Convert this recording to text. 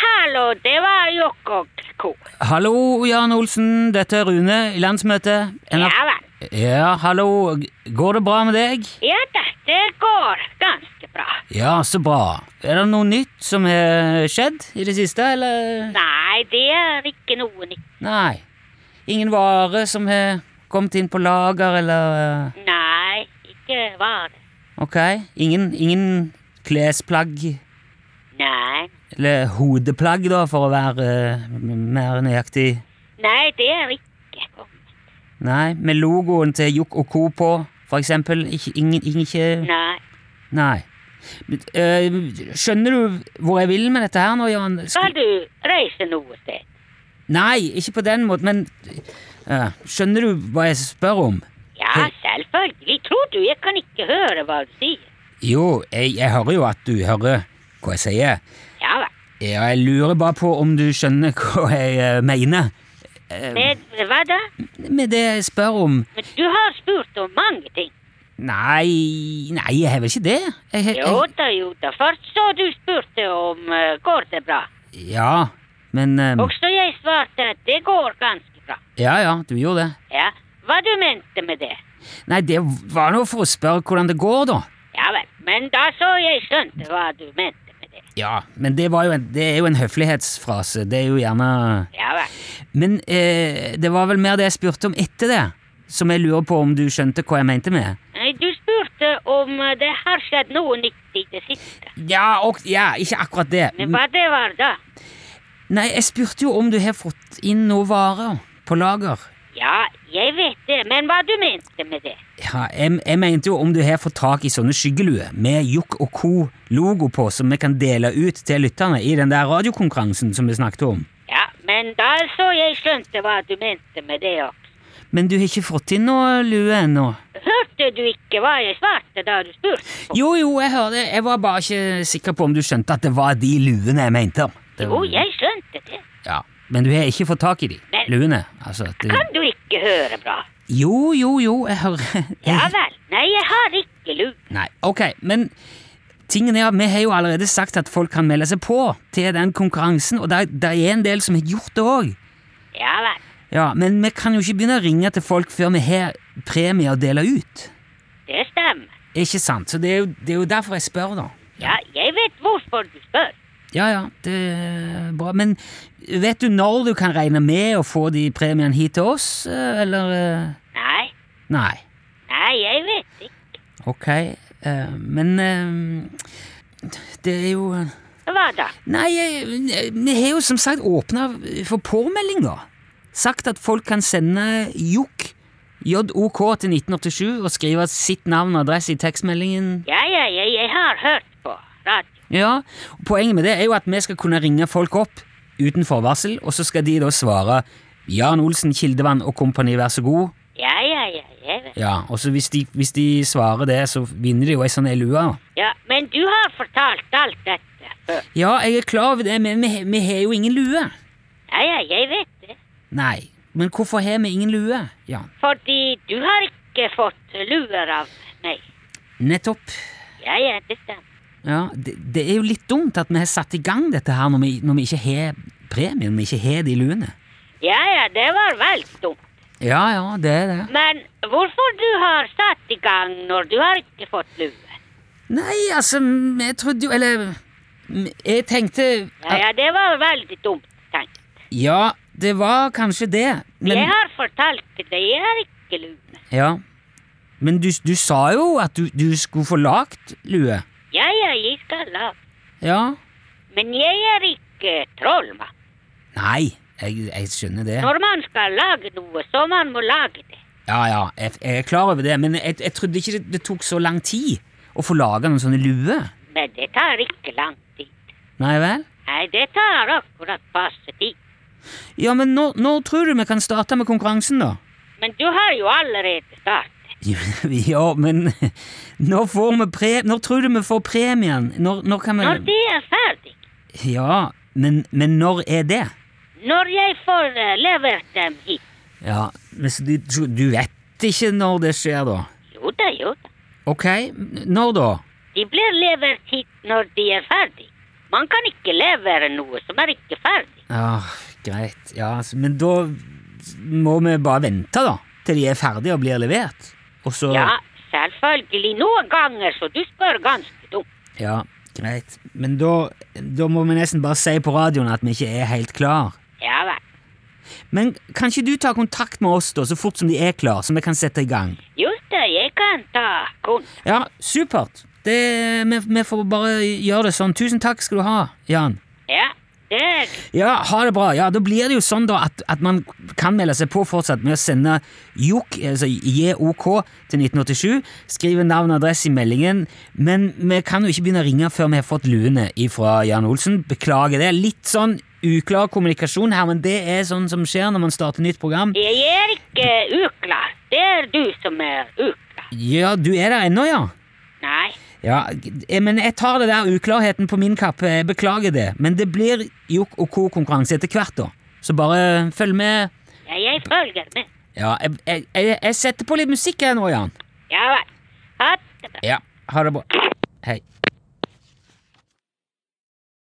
hallo, det var jo ko-ko. Hallo, Jan Olsen. Dette er Rune i landsmøtet. Ja vel. Ja, hallo. Går det bra med deg? Ja da, det går ganske bra. Ja, så bra. Er det noe nytt som har skjedd i det siste, eller? Nei, det er ikke noe nytt. Nei. Ingen vare som har kommet inn på lager, eller eh, Nei, ikke var det. Ok. Ingen, ingen klesplagg Nei. Eller hodeplagg, da, for å være eh, m- mer nøyaktig. Nei, det er ikke kommet. Nei, med logoen til Jokk og Co. på, for eksempel. Ikke, ingen, ingen ikke Nei. Nei. Men, eh, skjønner du hvor jeg vil med dette her nå, Jan? Sk- Skal du reise noe sted? Nei, ikke på den måten, men eh, Skjønner du hva jeg spør om? Ja, Hei. selvfølgelig. Tror du jeg kan ikke høre hva du sier? Jo, jeg, jeg hører jo at du hører hva jeg sier. Ja vel. Ja, jeg lurer bare på om du skjønner hva jeg eh, mener Med hva da? med det jeg spør om. Men du har spurt om mange ting. Nei, nei, jeg har vel ikke det? Jeg, jeg, Jo da, jo da. Først så du spurte om eh, går det bra. Ja, men eh, Også jeg svarte at det går ganske bra. Ja, ja, du gjorde det. Ja, hva du mente med det? Nei, det var nå for å spørre hvordan det går, da. Ja vel, men da så jeg skjønte hva du mente med det. Ja, men det, var jo en, det er jo en høflighetsfrase. Det er jo gjerne Ja vel. Men eh, det var vel mer det jeg spurte om etter det, som jeg lurer på om du skjønte hva jeg mente med. Nei, Du spurte om eh, det har skjedd noe nytt i det siste. Ja, og, ja, ikke akkurat det. Men hva det var da? Nei, jeg spurte jo om du har fått inn noe varer på lager. Ja, jeg vet det, men hva du mente med det? Ja, jeg, jeg mente jo om du har fått tak i sånne skyggeluer med Jokk og Co-logo på, som vi kan dele ut til lytterne i den der radiokonkurransen som vi snakket om. Ja, men da så jeg skjønte hva du mente med det også. Men du har ikke fått inn noe lue ennå? Hørte du ikke hva jeg svarte da du spurte? Jo, jo, jeg hører det. Jeg var bare ikke sikker på om du skjønte at det var de luene jeg mente. Det Jo, var- jeg skjønte det. Ja, Men du har ikke fått tak i de Men- luene? Altså, at det... Kan du ikke høre bra? Jo, jo, jo, jeg hører Ja vel. Nei, jeg har ikke lurt. Nei, ok, men tingen er at vi har jo allerede sagt at folk kan melde seg på til den konkurransen, og det, det er en del som har gjort det òg. Ja vel. Ja, men vi kan jo ikke begynne å ringe til folk før vi har premie å dele ut. Det stemmer. Ikke sant? Så det er jo, det er jo derfor jeg spør, da. Ja, jeg vet hvorfor du spør. Ja, ja, det er bra. Men vet du når du kan regne med å få de premiene hit til oss, eh, eller eh, Nei, Nei. nei, jeg vet ikke. Ok, eh, men eh, Det er jo Hva da? Nei, eh, vi har jo som sagt åpna for påmelding, da. Sagt at folk kan sende JOK, JOK til 1987 og skrive sitt navn og adresse i tekstmeldingen. Ja, ja, ja, jeg har hørt på radio. Ja, og Poenget med det er jo at vi skal kunne ringe folk opp uten forvarsel, og så skal de da svare Jan Olsen, Kildevann og kompani, vær så god. Ja, ja, ja, jeg vet. Ja, og så hvis de, hvis de svarer det, så vinner de jo ei sånn ei lue. da. Ja, men du har fortalt alt dette før. Ja, jeg er klar over det, men vi, he- vi har jo ingen lue. Ja, ja, jeg vet det. Nei, men hvorfor har vi ingen lue, Jan? Fordi du har ikke fått luer av meg. Nettopp. Ja, ja, det stemmer. Ja, det, det er jo litt dumt at vi har satt i gang dette her når vi, når vi ikke har premien, vi ikke har de luene. Ja, ja, det var veldig dumt. Ja, ja, det er det. Men hvorfor du har satt i gang når du har ikke fått luer? Nei, altså, jeg trodde jo Eller jeg tenkte Ja, ja, det var veldig dumt tenkt. Ja, det var kanskje det, Jeg men har fortalt deg, jeg har ikke lue. Ja. Men du, du sa jo at du, du skulle få lagt lue. Ja, ja, jeg skal lage. Ja. Men jeg er ikke trollmann. Nei, jeg, jeg skjønner det. Når man skal lage noe, så man må lage det. Ja, ja, jeg, jeg er klar over det, men jeg, jeg trodde ikke det, det tok så lang tid å få laga noen sånne luer. Men det tar ikke lang tid. Nei vel? Nei, det tar akkurat passe tid. Ja, men når, når tror du vi kan starte med konkurransen, da? Men du har jo allerede startet. Ja, men når får vi pre... Når tror du vi får premien? Når, når kan vi Når det er ferdig, Ja, men, men når er det? når jeg får eh, levert dem hit. Ja, men så du, du vet ikke når det skjer, da? Jo da, jo da. Ok, når da? De blir levert hit når de er ferdig. Man kan ikke levere noe som er ikke ferdig. Ja, greit. Ja, altså, men da må vi bare vente, da, til de er ferdige og blir levert. Og så Ja, selvfølgelig. Noen ganger, så du spør ganske dumt. Ja, greit. Men da, da må vi nesten bare si på radioen at vi ikke er helt klar. Ja vel. Men kan ikke du ta kontakt med oss da, så fort som de er klar, så vi kan sette i gang? Just det, jeg kan ta kontakt. Ja, supert. Det, vi, vi får bare gjøre det sånn. Tusen takk skal du ha, Jan. Ja, det er Ja, ha det bra. Ja, da blir det jo sånn da at, at man kan melde seg på fortsatt med å sende JOK, altså JOK, til 1987. Skrive navn og adresse i meldingen. Men vi kan jo ikke begynne å ringe før vi har fått luene ifra Jan Olsen. Beklager det. Litt sånn uklar kommunikasjon her, men det er sånn som skjer når man starter nytt program. Jeg er ikke uklar. Det er du som er uklar. Ja, du er der ennå, ja? Nei. Ja, g- men jeg tar det der uklarheten på min kappe. Jeg beklager det. Men det blir jokk og ko-konkurranse etter hvert, da. Så bare følg med. Ja, jeg følger med. Ja, jeg, jeg, jeg, jeg setter på litt musikk her nå, Jan. Ja vel. Ha det bra. Ja, ha det bra. Hei.